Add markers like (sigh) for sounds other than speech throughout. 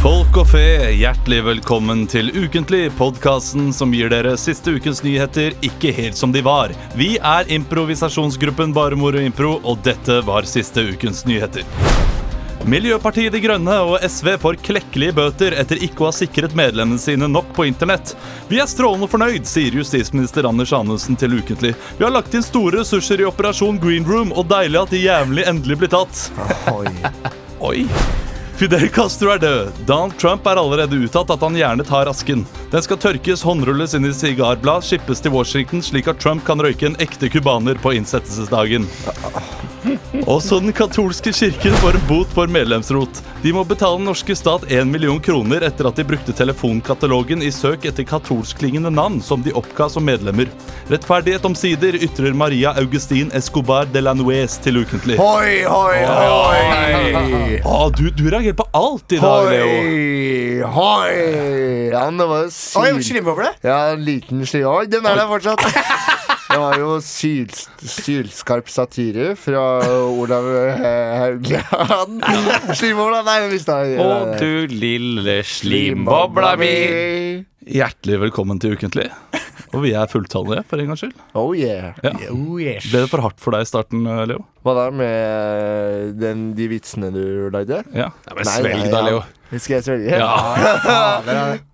Folk og fe, hjertelig velkommen til Ukentlig, podkasten som gir dere siste ukens nyheter ikke helt som de var. Vi er improvisasjonsgruppen Bare Moro Impro, og dette var siste ukens nyheter. Miljøpartiet De Grønne og SV får klekkelige bøter etter ikke å ha sikret medlemmene sine nok på internett. Vi er strålende fornøyd, sier justisminister Anders Anundsen til Ukentlig. Vi har lagt inn store ressurser i Operasjon Green Room, og deilig at de jævlig endelig blir tatt. Oi. Fidel Castro er død. Donald Trump er allerede uttalt at han gjerne tar asken. Den skal tørkes, håndrulles inn i sigarblad, skippes til Washington, slik at Trump kan røyke en ekte cubaner på innsettelsesdagen. Også den katolske kirken får en bot for medlemsrot. De må betale den norske stat 1 million kroner etter at de brukte telefonkatalogen i søk etter katolskklingende navn som de oppga som medlemmer. Rettferdighet omsider ytrer Maria Augustin Escobar de la Nuez til ukentlig. Hoi, hoi, hoi! Ah, du, du reagerer på alt i dag, Leo. Hoi, hoi! Ja, men det var jo syl... Oi, slimboble! Ja, en liten slim... Oi, den er der fortsatt! Det var jo syl... sylskarp satire fra Olav eh, Haugland. Slimbobla, nei, jeg mista den. Å, du lille slimbobla mi. Hjertelig velkommen til Ukentlig. Og vi er fulltallige, for en gangs skyld. Oh yeah. Ja. Ble det for hardt for deg i starten, eh, Leo? Hva da med den, de vitsene du lagde? Ja. Men svelg da, ja. Leo. Skal jeg svelge? Ja. Ja, der er den.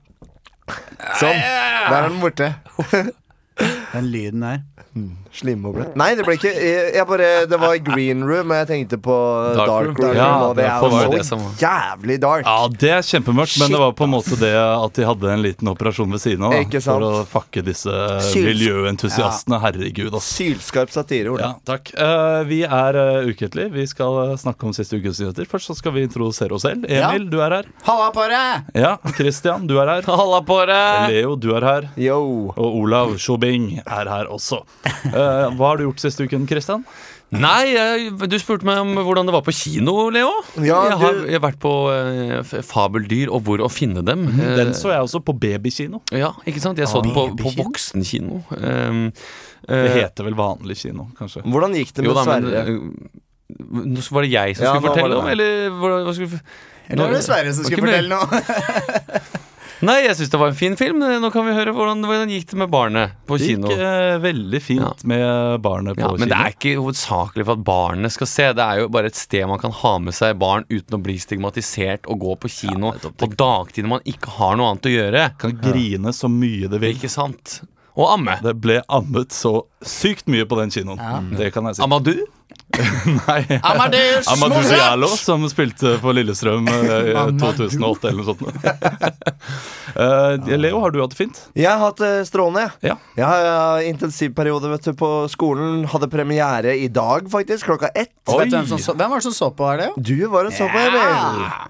Sånn. Der er den borte. (laughs) Mm, Den lyden der. Slimboble. Nei, det ble ikke jeg, jeg bare, Det var green room, og jeg tenkte på Dark dark, room. room. Ja, og det det var er det jo så som var- jævlig dark. Ja, det er kjempemørkt, men det var på en måte det at de hadde en liten operasjon ved siden av. Da, Ikke sant? for å fakke disse Syls- miljøentusiastene. Herregud, ass. Sylskarp satire. Ola. Ja, takk. Eh, vi er uh, ukentlig. Vi skal eh, snakke om siste ukens nyheter. Først så skal vi introdusere oss selv. Emil, du er her. Halla på deg! Ja, Christian, du er her. Halla på deg! Leo, du er her. Yo. Og Olav Sjobing er her også. Eh, hva har du gjort siste uken, Christian? Nei, jeg- du spurte meg om hvordan det var på kino, Leo. Ja, jeg, har, du- jeg har vært på eh, f- Fabeldyr og hvor å finne dem. Den Eh, så jeg også på babykino. Ja, ikke sant? Jeg så den på, på voksenkino. Um, Det eh, heter vel vanlig kino, kanskje. Hvordan gikk det jo med da, men Sverre? eh, Nå var det jeg som Ja, skulle nå var fortelle det om, deg. eller hva, hva skulle Eller var det Sverre som Nå- skulle ikke mer. fortelle noe? Nei, jeg syns det var en fin film. Nå kan vi høre hvordan, hvordan gikk det med barnet på Det gikk kino. eh, veldig fint Ja. med barnet på Ja, kino. men det er ikke hovedsakelig for at barnet skal se. Det er jo bare et sted man kan ha med seg barn uten å bli stigmatisert og gå på kino på dagtid når man ikke har noe annet å gjøre. kan grine så mye det vil. Ikke sant? Og amme. Det ble ammet så sykt mye på den kinoen. Det kan jeg si. Amadou? Nei. Amadeus Amadou Smollett! Diallo, som spilte på Lillestrøm eh, i Amadou. 2008 eller noe sånt. (laughs) Eh, Leo, har du hatt det fint? Jeg har hatt det strålende. jeg. Ja. Jeg har jeg har intensivperiode vet du, på skolen. Hadde premiere i dag, faktisk. Klokka ett. Vet du hvem, som så, hvem var det som så på her, Leo? Du var og så på, Ja. eller?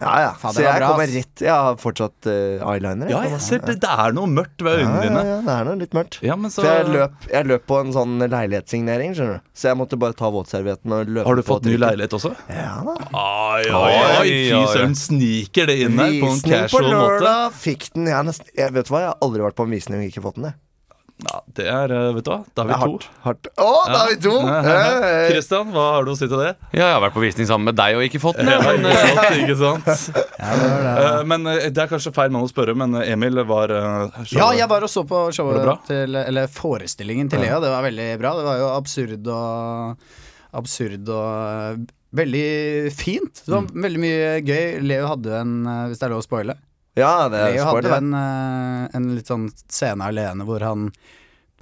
Ja, ja. Faen, Så det var jeg bra, kommer ass. rett Jeg har fortsatt eh, eyeliner. jeg. Ja, jeg ser det, det er noe mørkt ved Ja, øynene ja, dine. ja, det er noe litt mørkt. Ja, men så, For jeg løp, jeg løp på en sånn leilighetssignering, skjønner du. Så jeg måtte bare ta våtservietten og løpe har du på fått ny trikken. leilighet også? Ja da. Oi, oi, oi, fy søren, sniker det inn her på en Visning på casual måte. lørdag. Fikk den. Jeg, er nesten, jeg vet du hva, jeg har aldri vært på en visning og ikke fått den. Jeg. Ja, det er, eh, vet du hva, da Det er vi er to. hardt. hardt. Å, da er vi to! (laughs) Eh, eh. Kristian, hva har du å si til det? Ja, jeg har vært på visning sammen med deg og ikke fått den. (laughs) Ja, Ja, men, ikke eh, sant, ikke (laughs) sant? Eh, Men eh, det er kanskje feil mann å spørre, men eh, Emil var eh, så- Ja, jeg bare så på Var det bra? showet til, eller forestillingen til Leo. Det var veldig bra. Det var jo absurd og Absurd og eh, Veldig fint. Det var Mm. veldig mye gøy. Leo hadde jo en, eh, hvis det er lov å spoile Ja, det er Leo sport, hadde jo det. en, eh, en litt sånn scene alene hvor han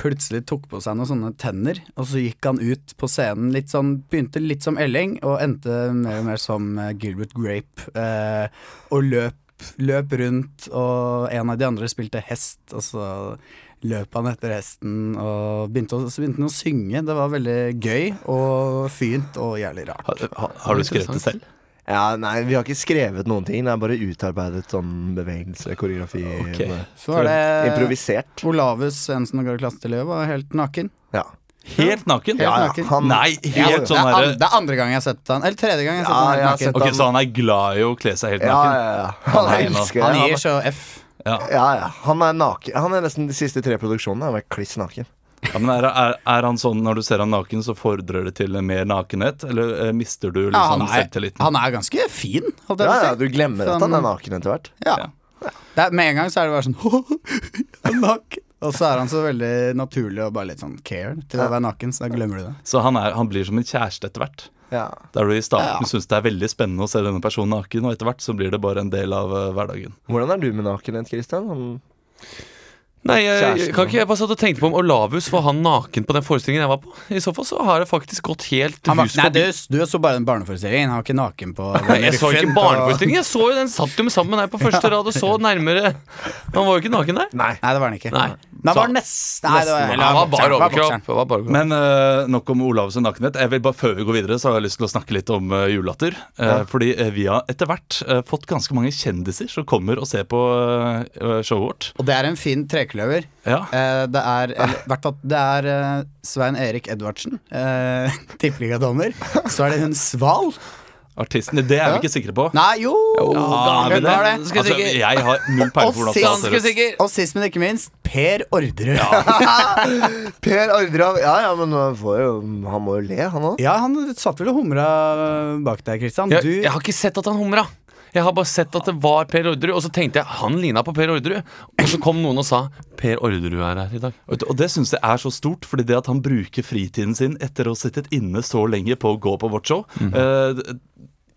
plutselig tok på seg noen sånne tenner, og så gikk han ut på scenen litt sånn Begynte litt som Elling, og endte mer og mer som eh, Gilbert Grape, eh, og løp, løp rundt, og en av de andre spilte hest, og så løp han etter hesten og begynte, å, så begynte han å synge. Det var veldig gøy og fint og jævlig rart. Har, har- har du skrevet det selv? Ja, nei, vi har ikke skrevet noen ting. Det er bare utarbeidet sånn bevegelse, koreografi. Ok. med- Så var det Improvisert. Olavus Svendsen og Gard Klasteløv var helt naken. Ja. Helt naken? Helt Ja, ja, naken. han- Nei, Ja, helt det, er sånn an, herre det er andre gang jeg har sett han Eller tredje gang jeg har sett Ja, han jeg har helt naken. sett Ok, Så han er glad i å kle seg helt Ja, ja, naken? ja. Han Han er elsker det. Han Han gir er- så F. Ja, ja. Han er naken. Han er nesten de siste tre produksjonene. Han er kliss naken. Ja, men er, er, er han sånn når du ser han naken, så fordrer det til mer nakenhet? Eller eh, mister du Ja, liksom han, er, selvtilliten? han er ganske fin, holdt jeg Ja, på å ja, si. du glemmer at han Sånn- er naken etter hvert. Ja. Det er, med en gang så er det bare sånn (laughs) jeg er naken. Og så er han så veldig naturlig og bare litt sånn care til å være naken, så da glemmer du det. Så han, er, han blir som en kjæreste etter hvert. Ja. Der du i starten synes syns det er veldig spennende å se denne personen naken, og etter hvert så blir det bare en del av eh, hverdagen. Hvordan er du med nakenhet, Christian? Sånn- Nei, jeg, Kjæresten. jeg, kan ikke, jeg bare satt og tenkte på om Olavus var han naken på den forestillingen jeg var på. I så fall så har det faktisk gått helt Han bare, hus nei, du, forbi. du så bare den barneforestillingen, han var ikke naken på Nei, jeg så ikke barneforestillingen. Jeg så jo den satt jo med sammen her på første rad og så nærmere. Han var jo ikke naken der. Nei. Nei, det var han ikke. Nei. Men han Så- var nesten Nei, det var, Eller han var bare overkropp. Han var bare overkropp. Men eh, nok om Olavs nakenhet. Jeg vil bare Før vi går videre, så har jeg lyst til å snakke litt om eh, julelatter. Eh, Fordi eh, vi har etter hvert eh, fått ganske mange kjendiser som kommer og ser på eh, showet vårt. Og det er en fin trekløver. Ja. Eh, det er, eller, i hvert fall, det er eh, Svein Erik Edvardsen, eh, (laughs) tippeligadommer. Så er det hun Sval. Artistene, det er vi ikke sikre på. Nei, jo! Ja, Hun men det, var det. Skal vi altså, sikre- jeg har null peiling på hvordan Og det ser Ganske ut. sikker. Og sist, men ikke minst, Per Orderud. Per Ordrav Ja, ja, men han, får jo, han må jo le, han òg. (laughs) Ja, han satt vel og humra bak deg, Kristian. Jeg, Du jeg har ikke sett at han humra. Jeg har bare sett at det var Per Orderud, og så tenkte jeg han ligna på Per Orderud. Og så kom noen og sa Per Orderud er her i dag. Og og det syns jeg er så stort, fordi det at han bruker fritiden sin etter å ha sittet inne så lenge på å gå på vårt show, eh,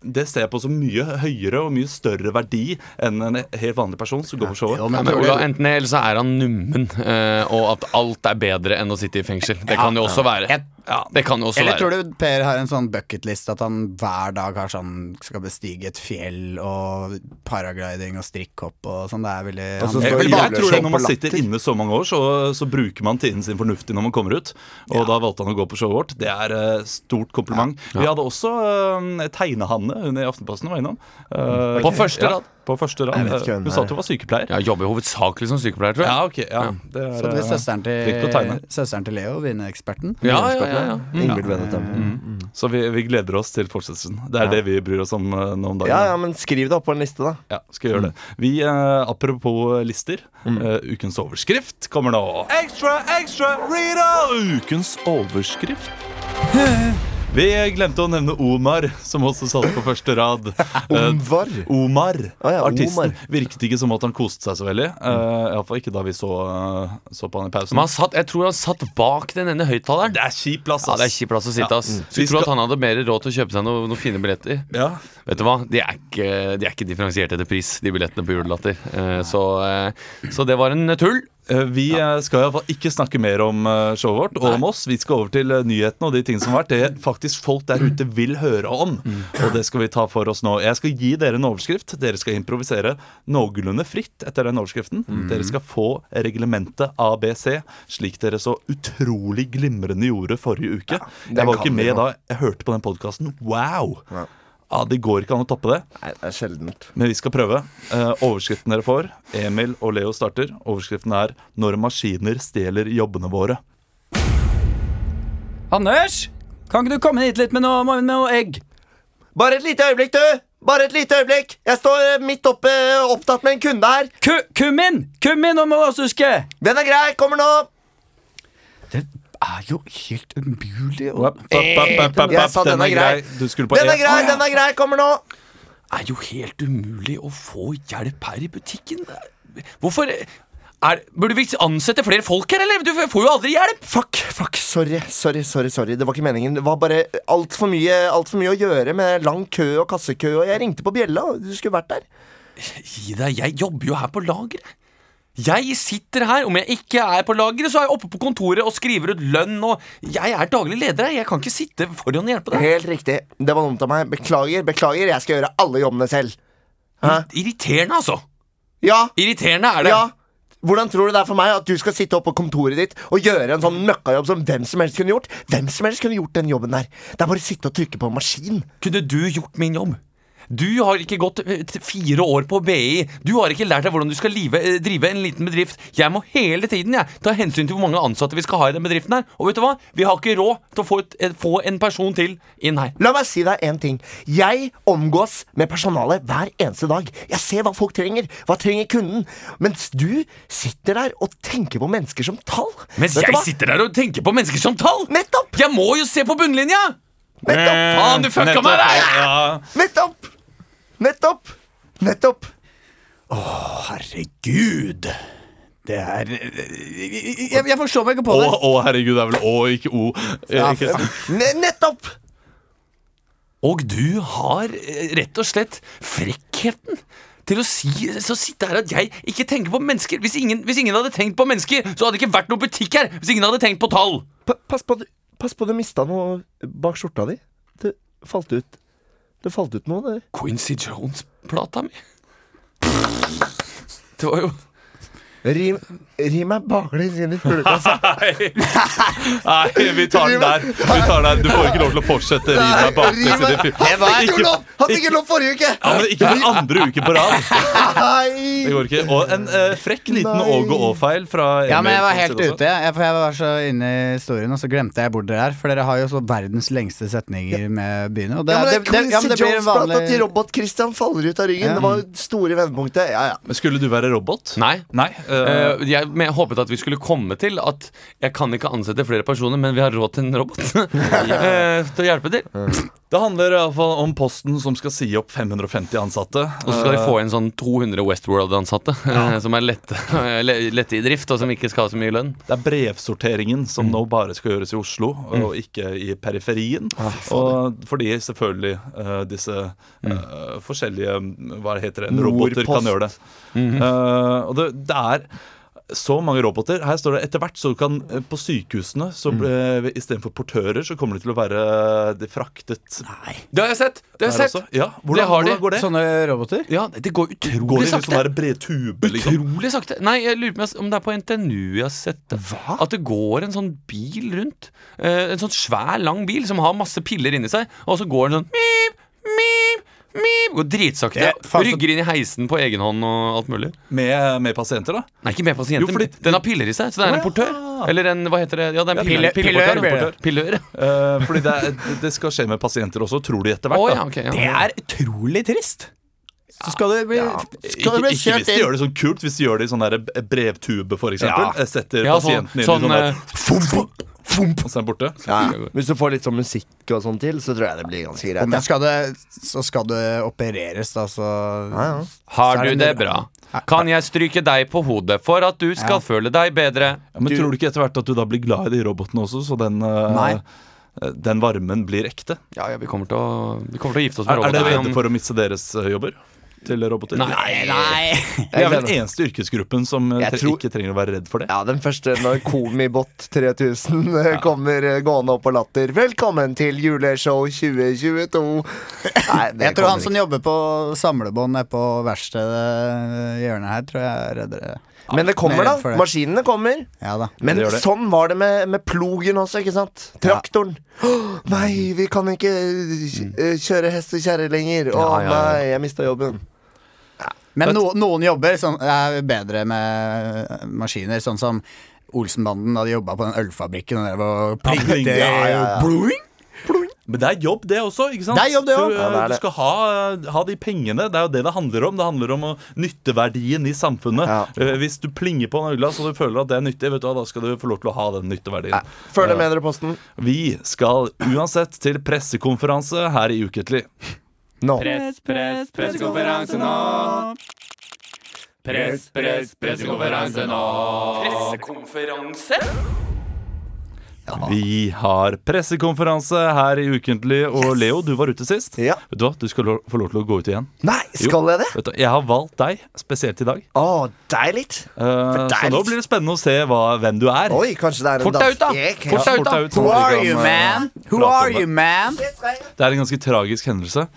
det ser jeg på som mye høyere og mye større verdi enn en helt vanlig person som går på showet. Ja, men Ola, enten det, eller så er han nummen, eh, og at alt er bedre enn å sitte i fengsel. Det kan jo også være. Jeg- Ja, det kan jo også Eller være. tror du Per har en sånn bucketlist at han hver dag har sånn skal bestige et fjell og paragliding og strikkhopp og sånn? Det er veldig Og så han- Jeg, står det jeg, jeg jævlig tror det Når man sjokk og sitter inne så mange år, så, så bruker man tiden sin fornuftig når man kommer ut. Og da valgte han å gå på showet vårt. Det er eh, stort kompliment. Vi hadde også eh, Tegnehanne hun i Aftenposten var innom. Eh, På første ja, rad. På første rad. vet ikke Eh, hvem Hun det sa er. at hun var sykepleier. Ja, jobber hovedsakelig som sykepleier, tror jeg. Ja, ok. Ja, det er, Så det blir eh, søsteren flink til å tegne. til, søsteren til Leo, vineeksperten. Ja, ja, ja, ja. Mm. Ingvild Vennetem. Så vi, vi gleder oss til fortsettelsen. Det er det vi bryr oss om eh, nå om dagen. Ja, Mm. ja, men skriv det opp på en liste, da. Ja, skal gjøre det. Vi, eh, Apropos lister. Mm. eh, ukens overskrift kommer nå. Ekstra, ekstra, Rita! Ukens overskrift. Vi glemte å nevne Omar, som også satt på første (laughs) rad. Eh, Omvar. Omar, Å ja, artisten, Omar. Mm. virket ikke som at han koste seg så veldig. Uh, Iallfall ikke da vi så, eh, så på han i pausen. Men han satt, jeg tror han satt bak den ene høyttaleren. Det er kjip plass, Ja, ass. det er kjip plass å sitte, Ja. ass. Vi Skulle tro at skal- han hadde mer råd til å kjøpe seg noen, noen fine billetter. Ja. Vet du hva? De er ikke, de er ikke differensiert etter pris, de billettene på Julelatter. Eh, Så, eh, så det var en tull. Eh, Vi eh, skal iallfall ikke snakke mer om eh, showet vårt og om oss. Vi skal over til eh, nyhetene og de tingene som har vært. Mm. Det faktisk folk der ute vil høre om. Og det skal vi ta for oss nå. Jeg skal gi dere en overskrift. Dere skal improvisere noenlunde fritt etter den overskriften. Mm. Dere skal få reglementet ABC, slik dere så utrolig glimrende gjorde forrige uke. den Jeg var ikke kan vi med nå. da. Jeg hørte på den podkasten. Wow! Ja, Det går ikke an å toppe det. Nei, det er sjeldent. Men vi skal prøve. Eh, overskriften dere får, Emil og Leo starter. Overskriften er 'Når maskiner stjeler jobbene våre'. Anders! Kan ikke du komme hit litt med noe, med noe egg? Bare et lite øyeblikk, du! Bare et lite øyeblikk! Jeg står eh, midt oppe eh, opptatt med en kunde her. Ku, kummin! Kummin nå må du også huske! Den er grei, kommer nå! Det er jo helt umulig å Papp, papp, papp, papp, Jeg sa papp. Den er grei. Du skulle på Den E. er grei, den er grei, kommer nå! er jo helt umulig å få hjelp her i butikken. Hvorfor er, Burde vi ansette flere folk her, eller? Du får jo aldri hjelp! Fuck, fuck, sorry, sorry, sorry, sorry. Det var ikke meningen. Det var bare altfor mye, alt for mye å gjøre med lang kø og kassekø, og jeg ringte på bjella, og du skulle vært der. Gi deg, jeg jobber jo her på lageret. Jeg sitter her, om jeg ikke er på lageret, så er jeg oppe på kontoret og skriver ut lønn og Jeg er daglig leder her, jeg kan ikke sitte foran og hjelpe deg. Helt riktig. Det var dumt av meg. Beklager, beklager. Jeg skal gjøre alle jobbene selv. Irriterende, altså. Ja, Irriterende er det. ja. Hvordan tror du det er for meg at du skal sitte oppe på kontoret ditt og gjøre en sånn møkkajobb som hvem som helst kunne gjort? Hvem som helst kunne gjort den jobben der. Det er bare å sitte og trykke på en maskin. Kunne du gjort min jobb? Du har ikke gått eh, t- fire år på BI. Du har ikke lært deg hvordan du skal live, eh, drive en liten bedrift. Jeg må hele tiden jeg, ta hensyn til hvor mange ansatte vi skal ha i den bedriften. her Og vet du hva? Vi har ikke råd til å få, et, eh, få en person til inn her. La meg si deg en ting. Jeg omgås med personalet hver eneste dag. Jeg ser hva folk trenger. Hva trenger kunden? Mens du sitter der og tenker på mennesker som tall. Mens Vet du jeg hva? sitter der og tenker på mennesker som tall! Nettopp! Jeg må jo se på bunnlinja! Eh. Nettopp! Faen, du fucka Nettopp, meg der! ja. Nettopp! Nettopp! Nettopp! Herregud! Det er Jeg, jeg forstår meg ikke Å, på det. å, herregud, det er vel å, ikke o. Eh, Ikke, Ne nettopp! Og du har eh, rett og slett frekkheten til å si, så sitte her at jeg ikke tenker på mennesker. Hvis ingen, hvis ingen hadde tenkt på mennesker, så hadde det ikke vært noen butikk her. Hvis ingen hadde tenkt på tall. Pa- pass, på, at du- pass på du mista noe bak skjorta di. Det falt ut. Det falt ut noe der. Quincy Jones-plata mi. Det var jo Ri, ri meg baklengs inn i (laughs) fuglekassa. Nei, vi tar den der. Vi tar den der. Du får ikke lov til å fortsette. Ri meg baklengs i det fy- Han fikk jo Ikke- lov! Han fikk jo lov forrige uke! Ja, men ikke for andre uke på rad. Det Nei! går ikke. Og en eh, frekk liten Nei. Åge Å-feil fra Ja, men jeg var Emil helt Thomsen også. ute, jeg. jeg. For jeg var så inne i historien, og så glemte jeg hvor dere er. For dere har jo så verdens lengste setninger med byene. Og det, Ja, men det, det, det, ja, men det blir en Jones-plata til vanlig Robot-Christian faller ut av ryggen. Det var store vendepunktet. Ja, ja. Men Skulle du være robot? Nei. Nei. eh, Eh, jeg, men jeg håpet at vi skulle komme til at jeg kan ikke ansette flere personer, men vi har råd til en robot (laughs) Eh, til å hjelpe til. Og det handler iallfall om Posten som skal si opp 550 ansatte. Eh, så skal de få inn sånn 200 Westworld-ansatte eh, som er lette, (laughs) le- lette i drift, og som ikke skal ha så mye lønn. Det er brevsorteringen som Mm. nå bare skal gjøres i Oslo, og ikke i periferien. Ah, og fordi selvfølgelig eh, disse Mm. eh, forskjellige mm, Hva heter det? Roboter kan Nordpost. gjøre det. Mhm. Eh, og det, det er så mange roboter. Her står det etter hvert så kan eh, på sykehusene så Mm. ble- istedenfor portører, så kommer de til å være eh, de fraktet Det har jeg sett! Det har der jeg også. sett. Ja, hvordan, Det har de. Sånn hvordan går det? Sånne roboter? Ja, det liksom går Går utrolig det i sånn sakte. der bred tube, liksom? Utrolig sakte. Nei, jeg lurer på om jeg- om det er på NTNU jeg har sett det. At det går en sånn bil rundt. eh, en sånn svær, lang bil som har masse piller inni seg, og så går den sånn mip, mip, mip, Går dritsakte. Det er faen så- Rygger inn i heisen på egen hånd og alt mulig. Med, med pasienter, da? Nei, ikke med pasienter. Jo, fordi- men Den har piller i seg, så det er en Å, ja. portør. Eller en, hva heter det? Ja, det er en pille- pille, pillør pilleportør. blir det. Pillør. Eh, fordi det, er- det- det skal skje med pasienter også, tror de etter hvert. Å, da. ja, ok, ja. Det er utrolig trist. Så skal det bli Ikke, bli ikke kjørt hvis de gjør det sånn kult, hvis de gjør det i sånn der brevtube, for eksempel. Ja. Setter Ja, sånn, pasienten inn i sånn sånn der, eh, og så er den borte. Hvis du får litt sånn musikk og sånn til, så tror jeg det blir ganske greit. Men skal det, så skal det opereres, da, så Har Så er du det det en del- bra? Kan jeg stryke deg på hodet for at du skal Ja. føle deg bedre? Ja, men tror du ikke etter hvert at du da blir glad i de robotene også, så den, eh, Nei. eh, den varmen blir ekte? Ja, ja, vi kommer til å, vi kommer til å gifte oss med Er, er roboter. dere om- redde for å miste deres eh, jobber? Til roboter? Nei, Det er vel den eneste yrkesgruppen som eh, Jeg tre, tror- ikke trenger å være redd for det. Ja, den første når Komibot 3000 kommer eh, gående opp på latter. Velkommen til juleshow 2022. Nei, det Jeg tror han kommer som ikke. jobber på samlebånd nede på verkstedet i hjørnet her, tror jeg er reddere. Men det kommer, Mer for da. det. Maskinene kommer. Ja da. Men Det gjør det. sånn var det med, med plogen også, ikke sant? Traktoren. Åh, nei, vi kan ikke eh, kjøre hest og kjerre lenger. Å Ja, ja, ja. nei, jeg mista jobben. Men no, noen jobber sånn, er bedre med maskiner, sånn som Olsenbanden da de jobba på den ølfabrikken og drev og Ja, pling, plingte ja, bluing. Men det er jobb, det også. ikke sant? Det er jobb, det også. Du, eh, Ja, det er du det. skal ha, eh, ha de pengene. Det er jo det det handler om. Det handler om å nytteverdien i samfunnet. Ja. Eh, Hvis du plinger på en øgla så du føler at det er nyttig, vet du hva, da skal du få lov til å ha den nytteverdien. Følg med dere, Posten. Vi skal uansett til pressekonferanse her i Uketlig. Nå. Vi har pressekonferanse her i Ukentlig, og Leo, du var ute sist. Ja. Vet du hva, du skal lo- få lov til å gå ut igjen. Nei, Jo. skal jeg det? Vet du, jeg har valgt deg spesielt i dag. Å, deilig. Eh, så deg nå litt. blir det spennende å se hva, hvem du er. Oi, kanskje det er en Fort deg ut, da! dansk- Fort deg ut, da! sånn Who at vi are kan, you, eh, man? Who prate om are det. you, man? Det er en ganske tragisk hendelse.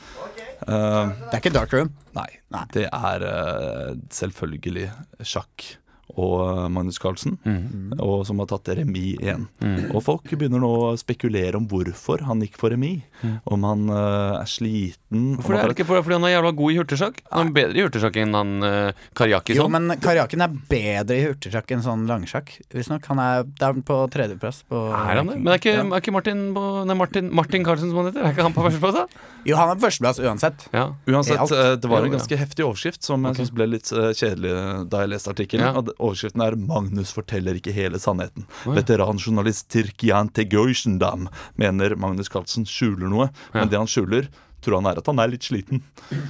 Eh, Det er ikke dark room. nei, det er eh, selvfølgelig sjakk og eh, Magnus Carlsen, Mm. og som har tatt remis igjen. Og folk begynner nå å spekulere om hvorfor han gikk for remis. Om han eh, er sliten om Hvorfor det? han Er det har- ikke Mm. for- fordi han er jævla god i hurtigsjakk? Han er bedre i hurtigsjakk enn han uh, Karjakison. Jo, men Karjakin er bedre i hurtigsjakk enn sånn langsjakk, visstnok. Han er der på tredjeplass. På Er han det? Men er ikke, er ikke Martin, på- nei, Martin, Martin Carlsen som han heter? Er ikke han på førsteplass, da? Jo, han er på førsteplass uansett. Ja. Uansett, Alt. eh, det var en Jo, ja. ganske heftig overskrift som jeg synes ble litt eh, kjedelig eh, da jeg leste artikkelen. Ja. Og det- Overskriften er 'Magnus forteller ikke hele sannheten'. Veteranjournalist Tirkian Tegoysendam mener Magnus Carlsen skjuler noe. Men det han skjuler, tror han er at han er litt sliten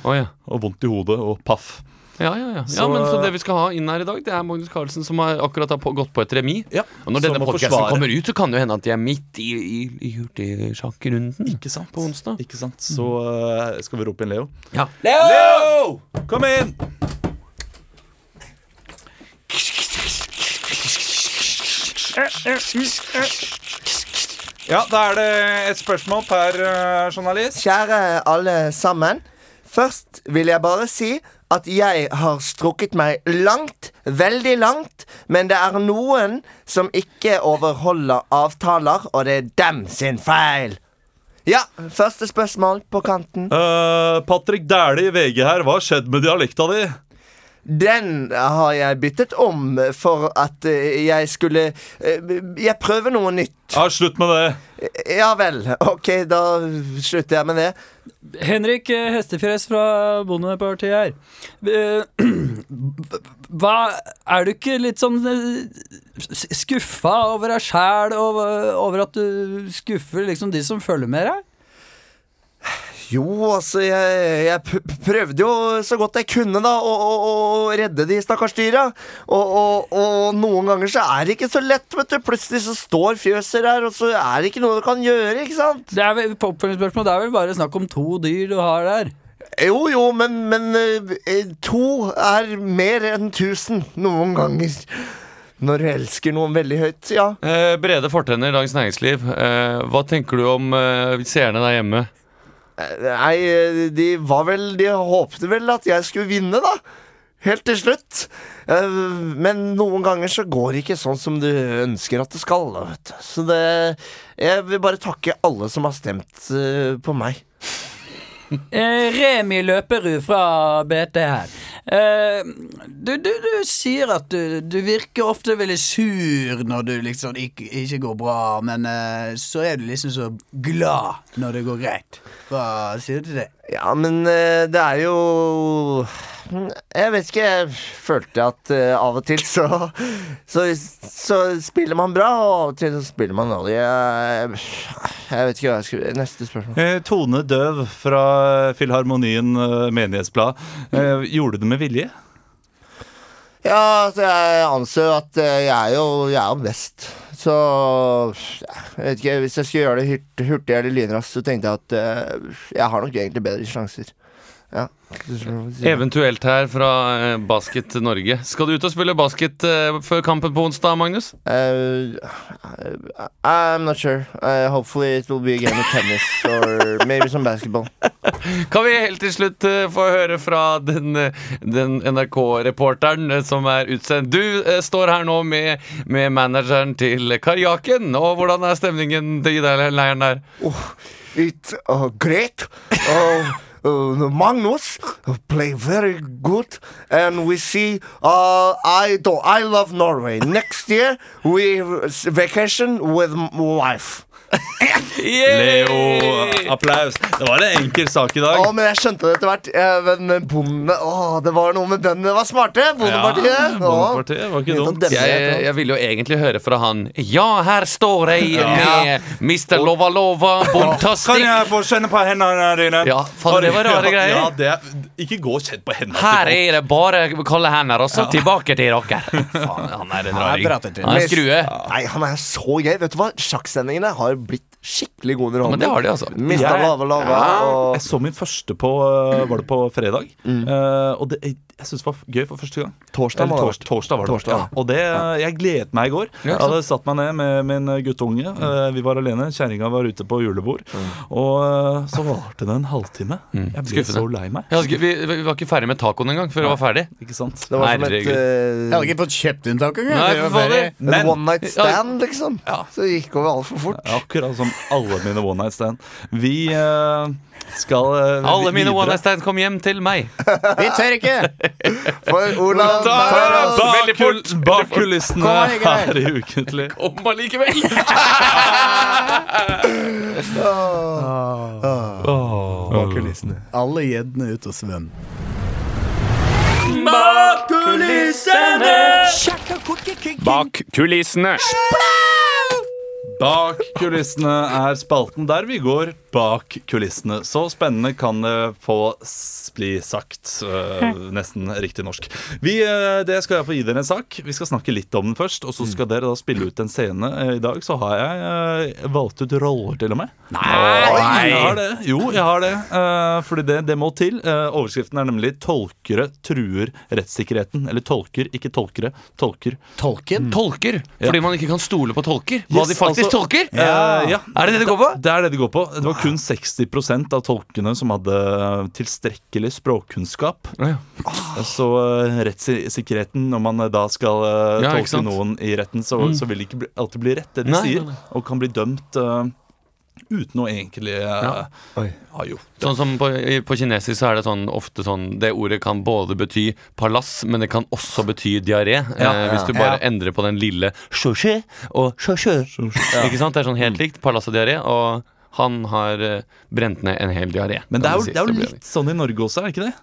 Å, ja. og vondt i hodet og paff. Ja, ja, ja. ja Så- men så det vi skal ha inn her i dag, det er Magnus Carlsen som har akkurat har på, gått på et remis. Ja, Og når som denne må podcasten forsvare. kommer ut, så kan det jo hende at de er midt i, i, i hurtigsjakkrunden. Ikke sant? På onsdag. Ikke sant? Så eh, skal vi rope inn Leo. Ja. Leo! Kom inn! Ja, da er det et spørsmål per eh, journalist. Kjære alle sammen. Først vil jeg bare si at jeg har strukket meg langt, veldig langt, men det er noen som ikke overholder avtaler, og det er dem sin feil. Ja, første spørsmål på kanten. Eh, Patrick Dæhlie i VG her, hva har skjedd med dialekta di? Den har jeg byttet om for at eh, jeg skulle eh, Jeg prøver noe nytt. Ja, slutt med det. Ja vel. Ok, da slutter jeg med det. Henrik eh, Hestefjes fra Bondepartiet her. Eh, (clears throat) Hva Er du ikke litt sånn skuffa over deg sjæl, og eh, over at du skuffer liksom de som følger med deg? Jo, altså, jeg, jeg p- prøvde jo så godt jeg kunne da å, å, å redde de stakkars dyra. Og, og, og noen ganger så er det ikke så lett, vet du. Plutselig så står fjøset der, og så er det ikke noe du kan gjøre, ikke sant? Det er vel, på oppfølgingsspørsmål, det er vel bare snakk om to dyr du har der. Jo, jo, men, men eh, to er mer enn tusen noen ganger. Når du elsker noen veldig høyt, ja. Eh, Brede Fortenner, Dagens Næringsliv. Eh, hva tenker du om eh, seerne der hjemme? Nei, eh, de var vel De håpte vel at jeg skulle vinne, da. Helt til slutt. Eh, Men noen ganger så går det ikke sånn som du ønsker at det skal. da, Vet du. Så det Jeg vil bare takke alle som har stemt eh, på meg. Eh, Remi Løperud fra BT her. Eh, du, du, du sier at du, du virker ofte veldig sur når du liksom ikke, ikke går bra, men eh, så er du liksom så glad når det går greit. Hva sier du til det? Ja, men eh, det er jo Jeg vet ikke. Jeg følte at eh, av og til så, så Så spiller man bra, og av og til så spiller man dårlig. Jeg, jeg vet ikke hva jeg skulle Neste spørsmål. Eh, Tone Døv fra Filharmonien eh, Menighetsblad. Eh, gjorde du det med vilje? Ja, altså jeg anser jo at eh, jeg er jo, jeg er jo best. Så ja, jeg vet ikke, hvis jeg skulle gjøre det hyrt- hurtig eller lynraskt, så tenkte jeg at eh, jeg har nok egentlig bedre sjanser. Ja. Eventuelt her fra eh, Basket Norge. Skal du ut og spille basket eh, før kampen på onsdag, Magnus? Eh, I'm not sure. Eh, hopefully it will be a game of tennis or maybe some basketball. Kan vi helt til slutt eh, få høre fra den, eh, den NRK-reporteren eh, som er utsendt? Du eh, står her nå med, med manageren til Karjaken, og hvordan er stemningen i den leiren der? It's uh, great. Uh, uh, Magnus uh, play very good, and we see. Uh, I do. I love Norway. Next year we s- vacation with m- wife. Leo, applaus. Det var en enkel sak i dag. Å, men jeg skjønte det etter hvert. Eh, Men bonde, å, det var noe med bøndene var smarte. Bondepartiet. Ja, sånn Bondepartiet var ikke Begynte å dumt. demme Jeg, etter hvert. jeg ville jo egentlig høre fra han. Ja, her står jeg med Mr. Lovalova, Kan Bontastic. jeg få kjenne på hendene dine? Ja, faen, det var (laughs) rare Ja, greier. Ja, det er, ikke gå og kjenn på hendene. Her til folk. er det bare kalde hender, og så tilbake til dere. Faen, han er en raring. prater til. Han er en skrue. Nei, han er så gøy. Vet du hva? Sjakksendingene har blitt skikkelig gode men det underholdning. har de, altså. Mr. Lista Jeg- lava, lava. Ja, jeg Og så min første på øh, Var det på fredag? Eh, og det, jeg, jeg syns det var gøy for første gang. Mm. Torsdag må Eller det ha tors, torsdag var det. Torsdag, ja. Og det, eh, jeg gledet meg i går. Ja, Jeg ikke sant? hadde satt meg ned med min guttunge. Mm. Eh, vi var alene. Kjerringa var ute på julebord. Og eh, så varte det en halvtime. Jeg ble Mm. Skuffende. så lei meg. Jeg hadde ikke- vi, vi var ikke ferdig med tacoen engang før jeg var ferdig. Ikke sant? det var sånn- som et Herregud. Jeg hadde ikke fått kjøpt en taco engang. Nei, det var for bare- fader. eh, en Men one night stand, liksom. Så det gikk over altfor fort. Akkurat som alle mine one night stand. Vi eh, skal eh, alle mine videre. one night stands kom hjem til meg. Vi tør ikke! (laughs) For Olav Da er tar det oss bra. Bak, Veldig fort. kul- bak kulissene Kom igjen, Geir. her i Ukentlig. Om allikevel! bak kulissene. Alle gjeddene ut og svøm. Bak kulissene. Bak kulissene er spalten der vi går bak kulissene. Så spennende kan det få s- bli sagt. øh, nesten riktig norsk. Vi, øh, det skal jeg få gi dere en sak. Vi skal snakke litt om den først. Og så skal dere da spille ut en scene. Eh, I dag så har jeg øh, valgt ut roller, til og med. Nei! Jeg har det. Jo, jeg har det. Eh, fordi det, det må til. Eh, overskriften er nemlig 'Tolkere truer rettssikkerheten'. Eller tolker, ikke tolkere. Tolker. Tolken? Tolker. Fordi man ikke kan stole på tolker. Hva Yes, de faktisk altså- tolker? Ja. Eh, ja. Er det det det går på? Det er det det går på. Det var kun 60 av tolkene som hadde eh, tilstrekkelig språkkunnskap. Ja. Så eh, rettssikkerheten, når man eh, da skal eh, Ja, ikke tolke sant? Mm. noen i retten, så, så vil det ikke bli, alltid bli rett, det de Nei, sier. nei, nei. Og kan bli dømt eh, uten å egentlig eh, Ja. Oi. Ja, jo. Sånn som på, i- på kinesisk så er det sånn, ofte sånn Det ordet kan både bety palass, men det kan også bety diaré. Ja, eh, hvis du bare endrer på den lille sjøsjø og sjøsjø. Ikke sant? Det er sånn helt likt. Palass og diaré. Og han har eh, brent ned en hel diaré. Men det kan er jo, vi si. det er Så jo blir litt sånn i Norge også, er det ikke det?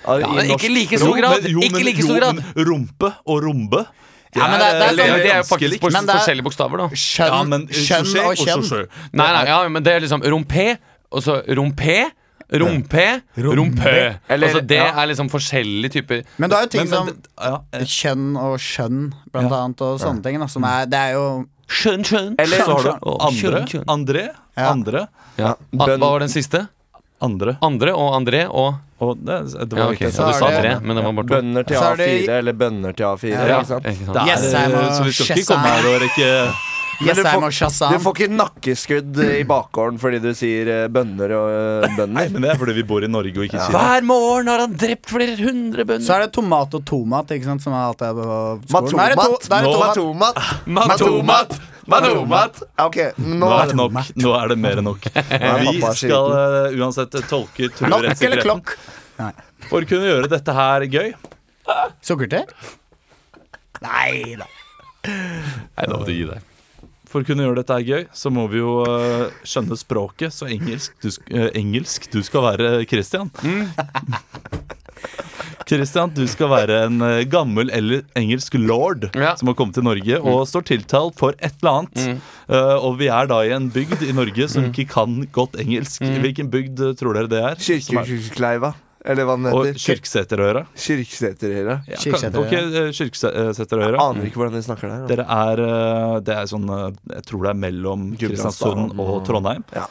Ja, men ikke like stor Jo, grad. men- jo, ikke men- like stor jo, grad. men Rumpe og rombe. Ja, men det- det Eller, er sånn- ja, det er jo ganske faktisk likt. på, Men det er- forskjellige bokstaver, da. Kjønn, Ja, men kjønn sjosjé og kjønn. sjosjø. Nei, nei, ja, men det er liksom rompé, og så rompé, rompé, rompø. Eller- Altså det ja. er liksom forskjellige typer Men det er jo ting Men, men, som det- ja, eh, kjønn og skjønn, blant annet, og sånne ting. Da, som er, det er jo Skjønn, skjønn. Eller så har du Å, andre, skjønn, skjønn. André, Ja. andre, Ja. Ah, Hva var den siste? andre Andre og André og Og det, det Ja, var ok, ikke ja, er du sa det- tre, men det var bare to. Bønner til Så er A4, det- eller bønner til A4. Ja, Ikke sant? ikke sant? Det er- Jessheim og Eh, Så vi skal ikke Shazam. komme her og rekke Jessheim får- og Shazam. Du får ikke nakkeskudd eh, i bakgården fordi du sier eh, bønner og eh, Nei, bønner. men det er fordi vi bor i Norge og ikke i Kina. Hver morgen har han drept flere hundre Så bønder. er det tomat og tomat, ikke sant, som er alt jeg på skolen. Nå er det to- Matomat. da er det tomat. Matomat. Matomat! Matomat. Ok, nå Nå er det nok. Nå er det mer enn (laughs) nok. er Vi pappa skal eh, uansett tolke true Nok eller rettssikkerheten. klokk? For å kunne gjøre dette her gøy Sukkerte? Nei, da må du gi deg. For å kunne gjøre dette her gøy, så må vi jo eh, skjønne språket. Så engelsk du, sk- eh, engelsk, du skal være Christian. Mm. (laughs) Christian, du skal være en eh, gammel eller engelsk lord Ja. Mm. som har kommet til Norge og står tiltalt for et eller annet. Eh, og vi er da i en bygd i Norge som Mm. ikke kan godt engelsk. Hvilken bygd eh, tror dere det er? Som er- (laughs) Kirkekleiva. Eller hva den og heter. Kyrksæterøra. Kirkeseterøra. Ja, Kyrksæterøyra. kan- ok, eh, Kyrksæterøyra. Aner ikke hvordan de snakker der. altså. da. Dere er, eh, det er sånn eh, Jeg tror det er mellom Gudbrandsdalen Kristiansund Mm. og Trondheim. Ja.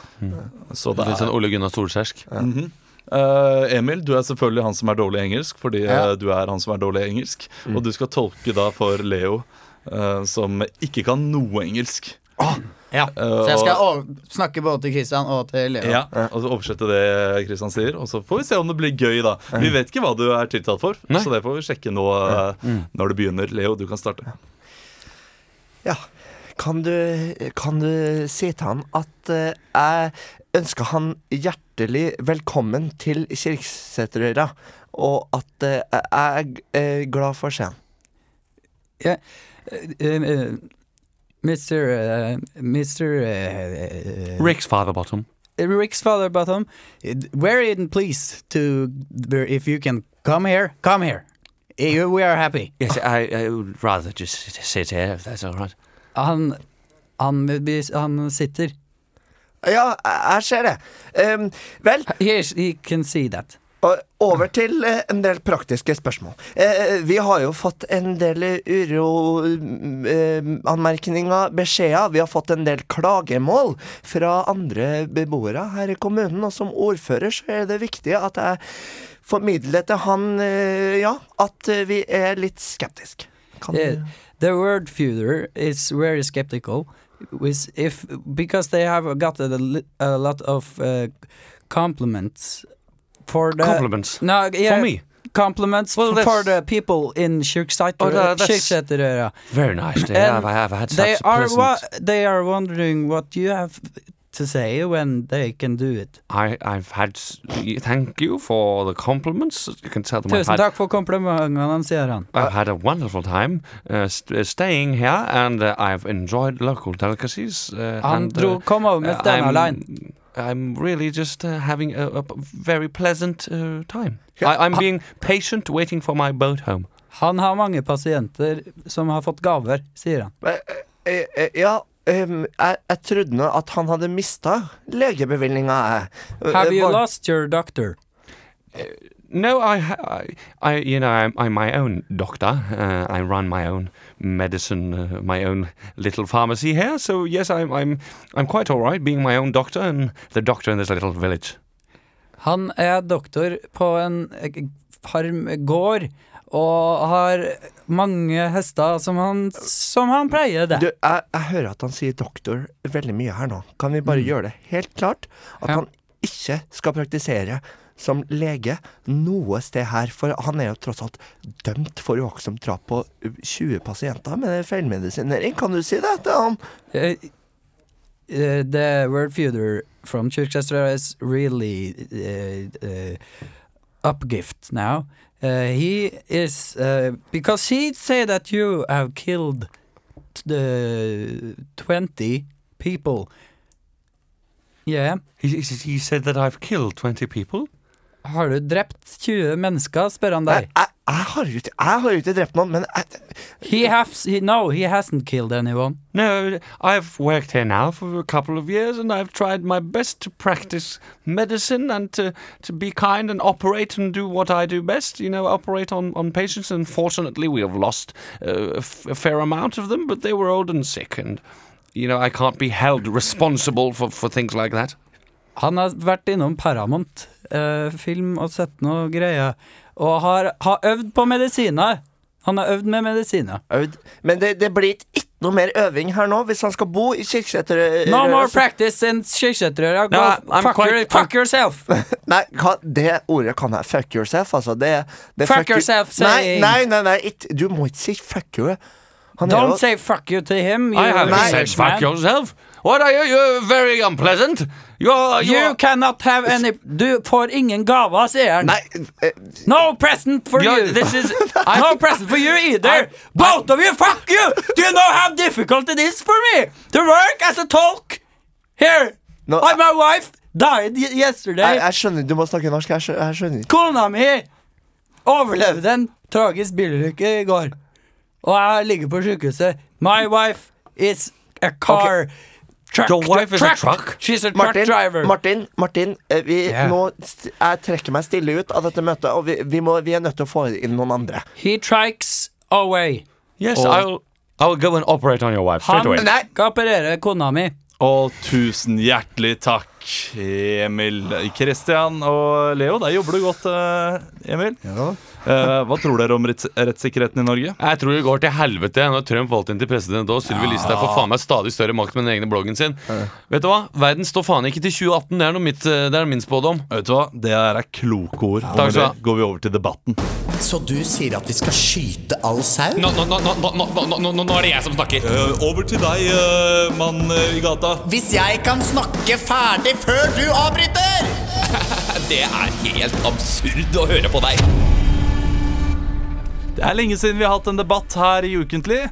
Så det Litt er sånn Ole Gunnar Solskjærsk. Mhm. Eh, Emil, du er selvfølgelig han som er dårlig i engelsk, fordi Ja. Mm. eh, du er han som er dårlig i engelsk. Og du skal tolke da for Leo, eh, som ikke kan noe engelsk. Ja. Eh, Så jeg skal og, over- snakke både til Christian og til Leo. ja, og så oversette det Kristian sier, og så får vi se om det blir gøy, da. Vi vet ikke hva du er tiltalt for, Nei. så det får vi sjekke nå eh, Mm. når det begynner. Leo, du kan starte. Ja. Kan du, kan du si til han at eh, jeg ønsker han hjertelig velkommen til Kirkeseterøra, og at eh, jeg er glad for å se han. Eh, Mr. Mr. Rick's father bottom. eh, Rick's father bottom. We're in please to if you can come here, come here. Eh, You- We are happy. Yes, I, I would rather just sit here, if that's all right. Han, han, vil bli- han sitter. Ja, jeg jeg ser det. Em, vel, Yes, he can see that. Og over til eh, en del praktiske spørsmål. Eh, vi har jo fått en del mm, eh, uroanmerkninger, beskjeder. Vi har fått en del klagemål fra andre beboere her i kommunen. Og som ordfører så er det viktig at jeg formidler til han eh, ja, at eh, vi er litt skeptiske. Kan Yeah. The word feuder is very skeptical, with if because they have got a, li- a lot of uh, compliments for the Compliments. No, yeah, For me? compliments Well, f- for that's- the people in Oh, Kirksæter. that- that's- Kirksæter. Very nice. They And have, I have had such They a are pleasant... wa- they are wondering what you have to say when they can do it. I, I've had s- Thank you for the compliments. You can tell them I've Tusen had, takk for komplimentene, sier han. I've had a wonderful time uh, st- staying here, and uh, I've enjoyed local delicacies. Uh, Han and, dro, uh, kom over med uh, Steinar Line. I'm really just uh, having a, a p- very pleasant uh, time. I, I'm being patient, waiting for my boat home. Han har mange pasienter som har fått gaver, sier han. Eh, eh, eh, Ja, ehm, jeg, jeg trodde nå at han hadde mista legebevilgninga, jeg. Eh, uh, Have you var- lost your doctor? No, I, ha- I, I you know, I'm, I'm my own doctor. Uh, I run my own medicine, uh, my own little pharmacy here. So yes, I'm, I'm, I'm quite all right being my own doctor and the doctor in this little village. Han er doktor på en eh, farmgård og har mange hester som han, som han pleier Du, det. jeg, jeg hører at han sier doktor veldig mye her nå. Kan vi bare gjøre det helt klart at Mm. Ja. han ikke skal praktisere som lege noe sted her? For han er jo tross alt dømt for uaktsomt drap på 20 pasienter med feilmedisinering. Kan du si det til han? Eh, eh, the word feeder from Kirkchester is really eh, eh, upgift now. Eh, he is eh, because he say that you have killed t- the 20 people. Yeah. He, he, he said that I've killed 20 people. Har du drept 20 mennesker, spør han Jeg, deg. jeg, jeg, har jo ikke, jeg har jo ikke drept noen, men jeg, He has, he, no, he hasn't killed anyone. No, I've worked here now for a couple of years and I've tried my best to practice medicine and to, to be kind and operate and do what I do best, you know, operate on, on patients. And fortunately, we have lost uh, a, f- a fair amount of them, but they were old and sick. And, you know, I can't be held responsible for, for things like that. Han har vært innom Paramount eh, film og sett noe greier. Og har, har øvd på medisiner. Han har øvd med medisiner. Aud, Men det, det blir ikke noe mer øving her nå, hvis han skal bo i Kirkeseter. eh, No more så- practice in Kirkeseterøra. Go No, altså- I'm fuck, quite- your, fuck yourself! Nei, hva, det ordet kan jeg. Fuck yourself, altså. Det, det Fuck you- yourself, sier Nei, jeg. nei, nei, nei ikke- du må ikke si fuck you. Han er jo- Don't say fuck you to him. You, I haven't Nice. said fuck man. yourself. What are you? You're very unpleasant. You're, you're, You cannot have any Du får ingen gaver, sier han. Nei, eh, No present for you're- you! this is. (laughs) no present for you either. Both of you, fuck you! Do you know how difficult it is for me to work as a talk? Here, No, I, my wife died y- yesterday. jeg, jeg skjønner Du må snakke norsk. Jeg skjønner, jeg skjønner ikke. Kona mi overlevde en tragisk bilulykke i går. Og jeg ligger på sykehuset. My wife is a car truck. Your wife is a truck? She's a truck Martin, driver. Martin, Martin eh, vi, Yeah. nå, st- jeg trekker meg stille ut av dette møtet, og vi, vi, må, vi er nødt til å få inn noen andre. He trikes away. Yes, I'll. I will go and operate on your wife straight Han away. skal operere kona mi. Og tusen hjertelig takk, Emil, Kristian og Leo. Der jobber du godt, eh, Emil. Eh, hva tror dere om retts rettssikkerheten i Norge? Jeg tror det går til helvete når Trump valgte inn til president og Sylvi Listhaug får faen meg stadig større makt med den egne bloggen sin. Vet du hva? Verden står faen ikke til 2018. Det er, noe mitt, eh, det er min spådom. Vet du hva? Det er et kloke ord. Og Takk med skal du det ha. går vi over til debatten. Så du sier at vi skal skyte all sau? Nå er det jeg som snakker. Eh, over til deg, eh, mann i gata. Hvis jeg kan snakke ferdig før du avbryter! Det er helt absurd å høre på deg. Det er lenge siden vi har hatt en debatt her i Ukentlig.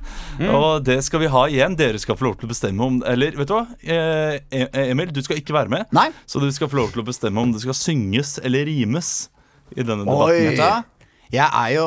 Og det skal vi ha igjen. Dere skal få lov til å bestemme om Eller vet du hva? Eh, E- Emil, du skal ikke være med. Nei. Så du skal få lov til å bestemme om det skal synges eller rimes i denne Oi. debatten. Vet du hva? Jeg er jo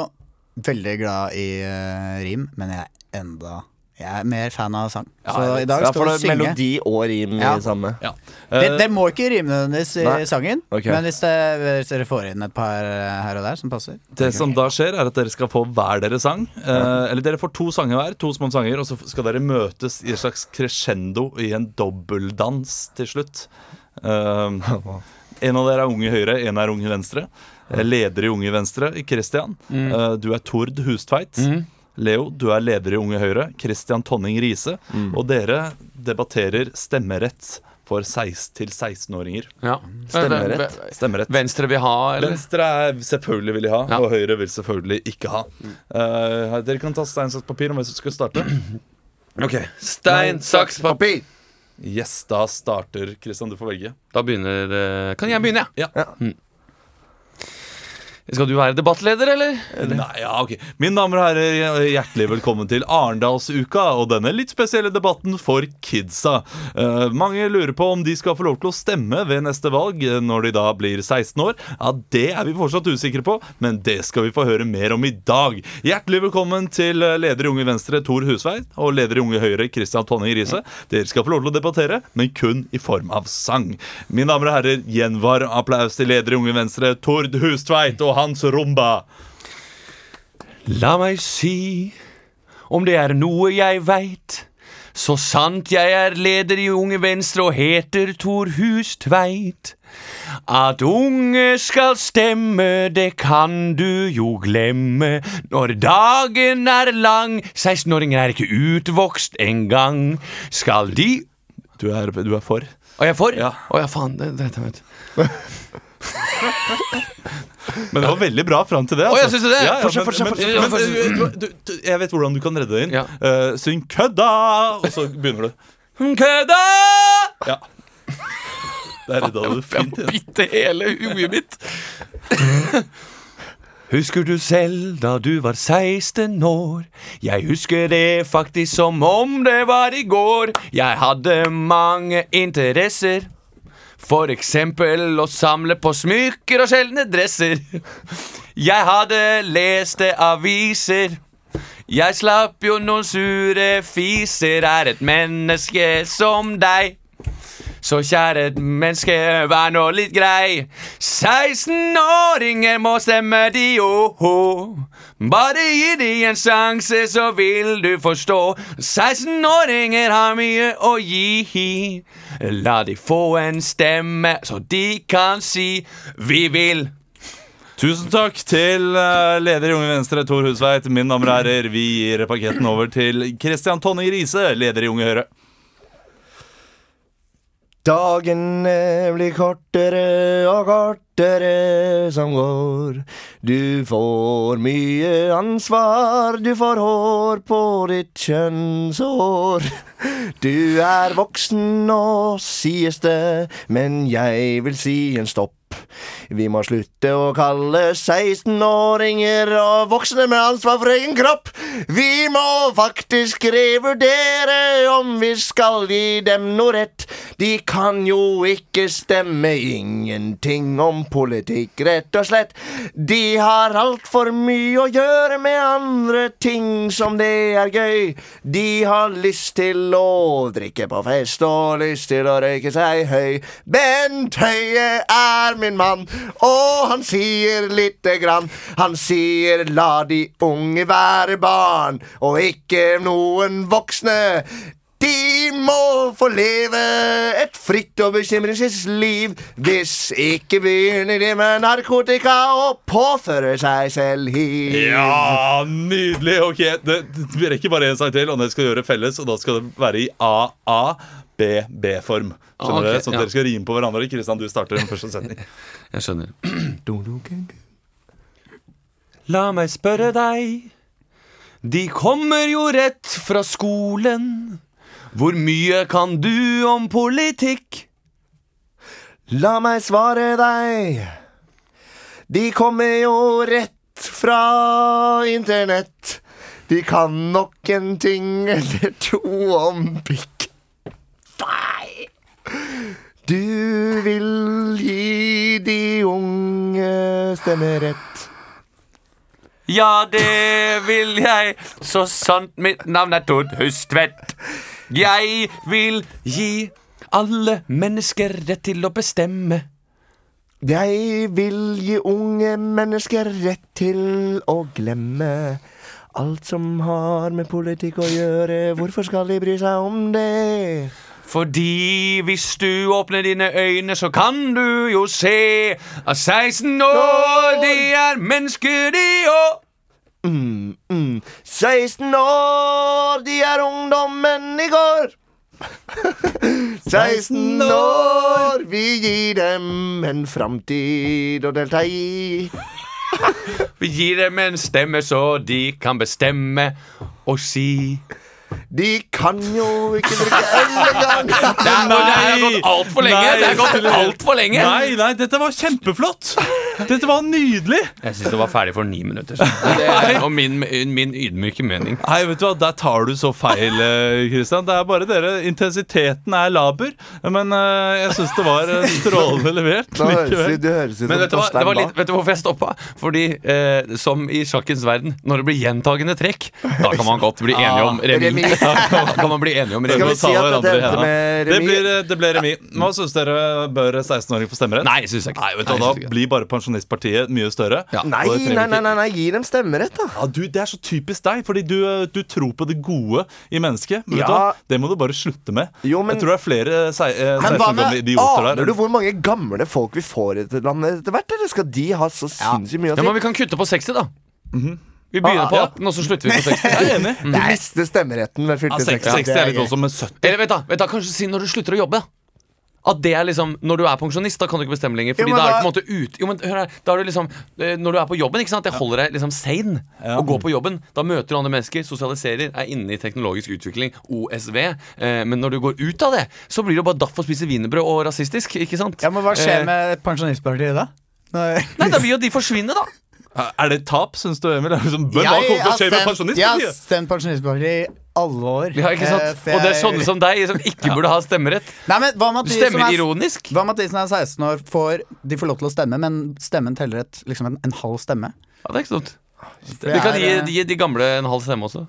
veldig glad i eh, rim, men jeg er enda Jeg er mer fan av sang. så jeg i dag Da skal får vi du synge. melodi og rim i Ja. samme. Ja. Det, Eh, det må ikke rime nødvendigvis i Nei. sangen, Ok. men hvis, det, hvis dere får inn et par eh, her og der som passer Det som da skjer er sånn- at dere skal få hver deres sang. Eh, eller dere får to sanger hver, to små sanger, og så skal dere møtes i et slags crescendo i en dobbeldans til slutt. Eh, en av dere er Unge Høyre, en er Unge Venstre. Jeg er leder i Unge Venstre, Christian. Eh, du er Tord Hustveit. Leo, du er leder i Unge Høyre. Christian Tonning Riise. Og dere debatterer stemmerett for 16- til 16-åringer. Ja. Eh, Stemmerett. Ve- ve- Stemmerett. Venstre vil ha, eller? Venstre er selvfølgelig vil de ha, Ja. og Høyre vil selvfølgelig ikke ha. Eh, dere kan ta stein, saks, papir om hvem som skal starte. Ok. Stein, saks, papir. Yes, da starter Kristian. Du får velge. Da begynner eh, Kan jeg begynne, Ja. Hm. Mm. Skal du være debattleder, eller? Nei, ja, ok Mine damer og herrer, hjertelig velkommen til Arendalsuka og denne litt spesielle debatten for kidsa. Eh, mange lurer på om de skal få lov til å stemme ved neste valg eh, når de da blir 16 år. Ja, Det er vi fortsatt usikre på, men det skal vi få høre mer om i dag. Hjertelig velkommen til eh, leder i Unge Venstre, Tor Husveit, og leder i Unge Høyre, Christian Tonning Riise. Dere skal få lov til å debattere, men kun i form av sang. Mine damer og herrer, gjenvar applaus til leder i Unge Venstre, Tord Hustveit og hans rumba. La meg si om det er noe jeg veit. Så sant jeg er leder i Unge Venstre og heter Tor Hustveit. At unge skal stemme, det kan du jo glemme. Når dagen er lang, 16-åringer er ikke utvokst engang. Skal de Du er, du er for? Å, jeg er for? Å Ja. ja. faen. Det, det, det, det. Men det var veldig bra fram til det. altså. Å, ja, synes du det? Ja, ja, Fortsett, men- fortsett, men- fortsett, men- fortsett. du- du- du- Jeg vet hvordan du kan redde det inn. Ja. Eh, syng 'kødda', og så begynner du. Kødda! Ja. Der redda du fint inn. Bitte hele huet mitt. Husker du selv da du var 16 år? Jeg husker det faktisk som om det var i går. Jeg hadde mange interesser. For eksempel å samle på smykker og sjeldne dresser. Jeg hadde leste aviser. Jeg slapp jo noen sure fiser. Er et menneske som deg. Så kjære menneske, vær nå litt grei. 16-åringer må stemme de jo. Bare gi de en sjanse, så vil du forstå. 16-åringer har mye å gi. La de få en stemme, så de kan si 'vi vil'. Tusen takk til eh, leder i Unge Venstre, Tor Husveit. Mine damer og herrer, vi gir paketten over til Christian Tonning Riise, leder i Unge Høyre. Dagene blir kortere og kortere som går. Du får mye ansvar, du får hår på ditt kjønnshår. Du er voksen nå, sies det, men jeg vil si en stopp. Vi må slutte å kalle 16-åringer og voksne med ansvar for egen kropp. Vi må faktisk revurdere om vi skal gi dem noe rett. De kan jo ikke stemme ingenting om politikk, rett og slett. De har altfor mye å gjøre med andre ting som det er gøy. De har lyst til å drikke på fest og lyst til å røyke seg høy. Bent Høie er min mann, og han sier lite grann. Han sier la de unge være barn, og ikke noen voksne. De må få leve et fritt og bekymringsfritt liv. Hvis ikke begynner de med narkotika og påfører seg selv hiv. Ja, nydelig! Ok, det, Vi rekker bare én sang til, og det skal vi gjøre felles. Og da skal det være i AABB-form. Skjønner Ah, ok, dere? Sånn at ja. dere skal rime på hverandre. Kristian, du starter den første setning. (laughs) Jeg (clears throat) skjønner. La meg spørre deg. De kommer jo rett fra skolen. Hvor mye kan du om politikk? La meg svare deg. De kommer jo rett fra internett. De kan nok en ting eller to om pikk. Nei! Du vil gi de unge stemmerett. Ja, det vil jeg, så sant mitt navn er Tord Hustvedt. Jeg vil gi alle mennesker rett til å bestemme. Jeg vil gi unge mennesker rett til å glemme alt som har med politikk å gjøre. Hvorfor skal de bry seg om det? Fordi hvis du åpner dine øyne, så kan du jo se at 16 år, de er mennesker, de òg. 16 år, de er ungdommen i går. 16 år, vi gir dem en framtid å delta i. Vi gir dem en stemme, så de kan bestemme og si De kan jo ikke drikke øl engang. (laughs) Nei, det her har gått altfor lenge. Nei. det har gått alt for lenge Nei, nei, dette var kjempeflott! Dette var nydelig! Jeg syns det var ferdig for ni minutter siden. Det er og min, min ydmyke mening. Nei, vet du hva, Der tar du så feil, eh, Christian. Det er bare dere. Intensiteten er laber. Men eh, jeg syns det var eh, strålende levert. Da høres likevel. det høres ut som Men vet du, hva, det Torstein var Bae. litt, vet du hvorfor jeg stoppa? Fordi eh, som i sjakkens verden, når det blir gjentagende trekk, da kan man godt bli enige Ah, om remis. remis. (laughs) Da kan- kan man bli enige om Skal vi remis. si Ta at hverandre dette i endte henda. med Det remis? blir, eh, det ble remis. Hva syns dere? Bør 16-åringer få stemmerett? Nei, syns jeg ikke. Nei, vet du, hva, synes Da jeg ikke. blir bare pensjonistpartiet mye større. Ja. og det Nei, trenger vi nei, nei, ikke. nei, nei, gi dem stemmerett, da. Ja, du, Det er så typisk deg, fordi du, du tror på det gode i mennesket. Men vet du, Ja. hva? det må du bare slutte med. Jo, men- Jeg tror det er flere sei- eh, Men hva 16 år gamle med idioter der. Aner du hvor mange gamle folk vi får i dette landet etter hvert? Eller skal de ha så sinnssykt mye å Ja, men si? vi kan kutte på 60, da. Vi begynner på 18, og så slutter vi på 60. Mhm. Ah, Jeg er enig. Du mister stemmeretten ved Ja, fylte 60. 60, 60 Altså, er litt også, men 70 Eller vet da, vet da, kanskje si når du slutter å jobbe. da. At det er liksom, Når du er pensjonist, da kan du ikke bestemme lenger. Fordi Ja, men da er du på en da- måte ut Jo, men hør her da er du liksom, eh, Når du er på jobben, ikke sant det holder deg liksom sane å gå på jobben. Da møter du andre mennesker, sosialiserer, er inne i teknologisk utvikling, OSV. Eh, men når du går ut av det, så blir det jo bare daff og spise wienerbrød og rasistisk. ikke sant? Ja, Men hva Eh, skjer med Pensjonistpartiet da? Nei. Nei, Da vil jo de forsvinne, (laughs) da. Er det tap, syns du, Emil? Er det sånn, men hva Jeg kommer til har å skje med stemt- jeg har pensjonistpartiet? stemt Pensjonistpartiet i alle år. Ja, ikke sant? Eh, for Og det er jeg- sånne som deg som ikke burde ha stemmerett. Nei, men hva med at Du de som stemmer er- ironisk. Hva med at de som er 16 år, får, de får lov til å stemme, men stemmen teller et, liksom en, en halv stemme? Ja, det er ikke sant. Vi kan gi, er- eh, gi de gamle en halv stemme også.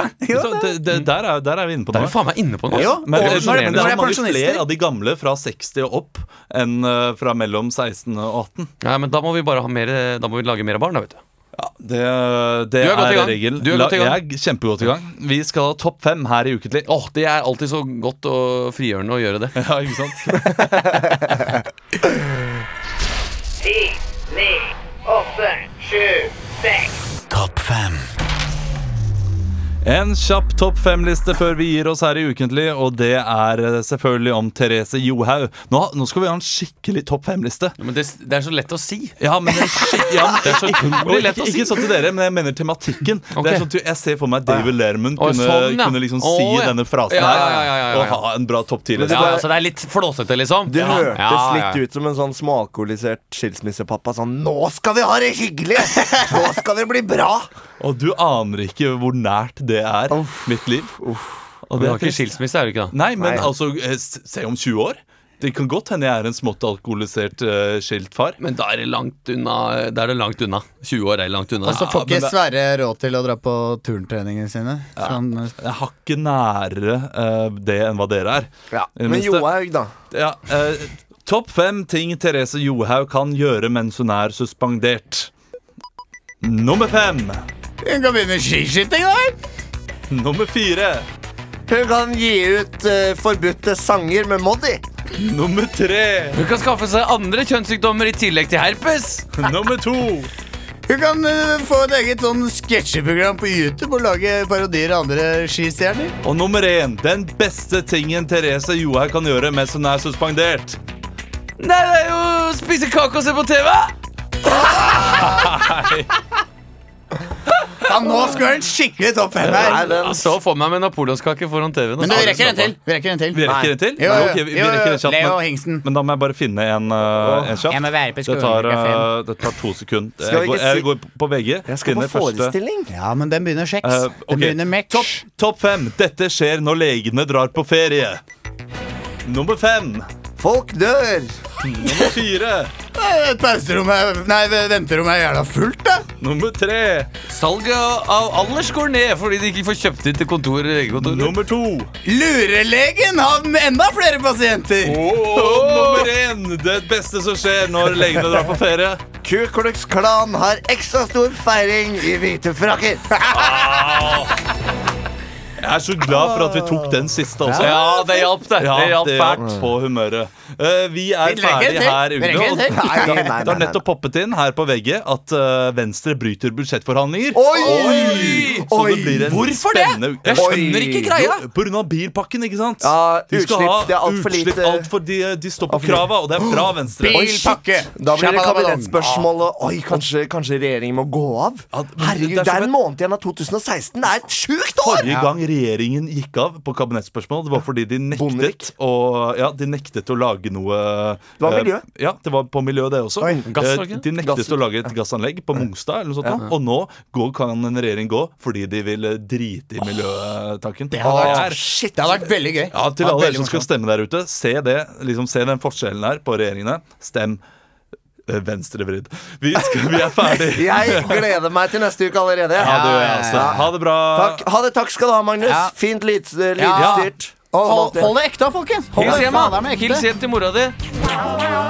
(laughs) Så det, det, der, er, der er vi inne på Da er noe. vi faen meg inne på noe. Jo, ass. Men, det er Og når det- imponerende. når det er det er mange pensjonister- flere av de gamle fra 60 og opp enn eh, fra mellom 16 og 18. Nei, men da må vi bare ha mer, da må vi lage mer barn, da, vet du. Ja, det, det Du er godt i gang. regelen. Du er La- godt i gang. Jeg er kjempegodt i gang. Vi skal ha topp fem her i Ukentlig. Åh, Det er alltid så godt og frigjørende å gjøre det. Ja, ikke sant? ti, ni, åtte, sju, seks. En kjapp topp fem-liste før vi gir oss her i Ukentlig, og det er eh, selvfølgelig om Therese Johaug. Nå, nå skal vi ha en skikkelig topp fem-liste. Men det, det er så lett å si. Ja, men en skikk- ja, men- Det er så utrolig lett å ikke, si. ikke sånn til dere, men jeg mener tematikken. Det Ok. er sånn at Jeg ser for meg at David Lermund Å, kunne, sånn, ja. kunne liksom Å, si ja. denne frasen Ja, her ja, ja, ja, ja, ja. og ha en bra topp Ja, tidligere. ja, så det er litt flåsete, liksom. Du ja. hørtes ja, ja. litt ut som en sånn småalkoholisert skilsmissepappa. Sånn 'Nå skal vi ha det hyggelig! Nå skal det bli bra!' Og du aner ikke hvor nært det er mitt liv. Og Du har ikke trist. skilsmisse, er du ikke da? Nei, men Nei. altså, eh, s- se om 20 år. Det kan godt hende jeg er en smått alkoholisert eh, skilt far. Men da er det langt unna. Da er det langt unna. 20 år er langt unna. Og så får men ikke det- Sverre råd til å dra på turntreningene sine. Så han, eh, Jeg har ikke nærere eh, det enn hva dere er. Ja. I det Men minste. Johaug, da. Ja, eh, Topp fem ting Therese Johaug kan gjøre mens hun er suspendert. Nummer fem. Hun kan begynne med skiskyting, da! Nummer fire. Hun kan gi ut eh, forbudte sanger med Moddi. Nummer tre. Hun kan skaffe seg andre kjønnssykdommer i tillegg til herpes. Nummer to. Hun kan eh, få et eget sånn sketsjeprogram på YouTube og lage parodier av andre skistjerner. Og nummer én. Den beste tingen Therese Johaug kan gjøre mens hun er suspendert. Nei, det er jo å spise kake og se på TV! Ja, nå skal hun skikkelig topp fem Nei, her! den, Så får meg med napoleonskake foran TV-en. Men du, vi rekker en til. Vi rekker en til. Vi rekker en til? Jo, Nei, jo, ok, vi- vi jo, rekker en kjapt, Leo men- Hingsten. Men da må jeg bare finne en, uh, en kjapt. Jeg må være på det, tar, skolen klokka uh, det tar to sekunder. Skal vi Jeg, går, ikke jeg si- går på VG. jeg skal finner på forestilling. Ja, men den begynner kjeks. Eh, ok. Den begynner match. Topp topp fem. Dette skjer når legene drar på ferie. Nummer fem. Folk dør. Nummer fire. Eh, Pauserommet Nei, venterommet er jævla fullt, da. Nummer tre. Salget av alders går ned fordi de ikke får kjøpt inn til kontor. legekontor. Nummer to. Lurelegen har enda flere pasienter. Og nummer én. Det beste som skjer når legene drar på ferie. Ku Klux Klan har ekstra stor feiring i hvite (laughs) frakker. Jeg er så glad for at vi tok den siste også. Ja, det hjalp, det. Ja, Det hjalp det fælt. hjalp på humøret. Eh, vi er Vi trenger ferdig en til. her Vi trenger en ute. til. og Nei, nei, nei, Det har nei. nettopp poppet inn her på VG at eh, Venstre bryter budsjettforhandlinger. Oi! Så Oi! det blir en Hvorfor det? spennende uke. Jeg skjønner ikke greia. Jo, På grunn av bilpakken, ikke sant? Ja, de skal utslipp, ha det er alt for utslipp lite. alt for de, de står på krava, og det er bra, Venstre. Oi, shit. Da blir det kabinettsspørsmål og Oi, kanskje, kanskje regjeringen må gå av? Ja, men det er Herregud, som Ah. det er et- en måned igjen av 2016. Det er et sjukt år! Forrige gang regjeringen gikk av på kabinettsspørsmål, det var fordi de nektet, Bondevik. å, ja, de nektet å lage noe Det var miljø. Ja, det var på miljø, det også. Eh, gassanlegg? De nektet å lage et gassanlegg på Mongstad, eller noe sånt. nå, Og nå går, kan en regjering gå fordi de vil eh, drite i miljøtanken. Det er- shit. Det har vært veldig gøy. ja, til Det har alle vært dere som veldig skal morsomt. stemme der ute, se, det, liksom, se den forskjellen her på regjeringene. Stem eh, venstrevridd. Vi, skal- vi er ferdig. Jeg gleder meg til neste uke allerede. Ja, det gjør jeg også. Ha det bra. Takk. Ha det, takk skal du ha, Magnus. Ja. Fint lyd- Ja. lydstyrt. Og Som hold, alltid. hold det ekte, da, folkens. Hold Hils det hjem, da. faen, det er med ekte. Hils hjem til mora di.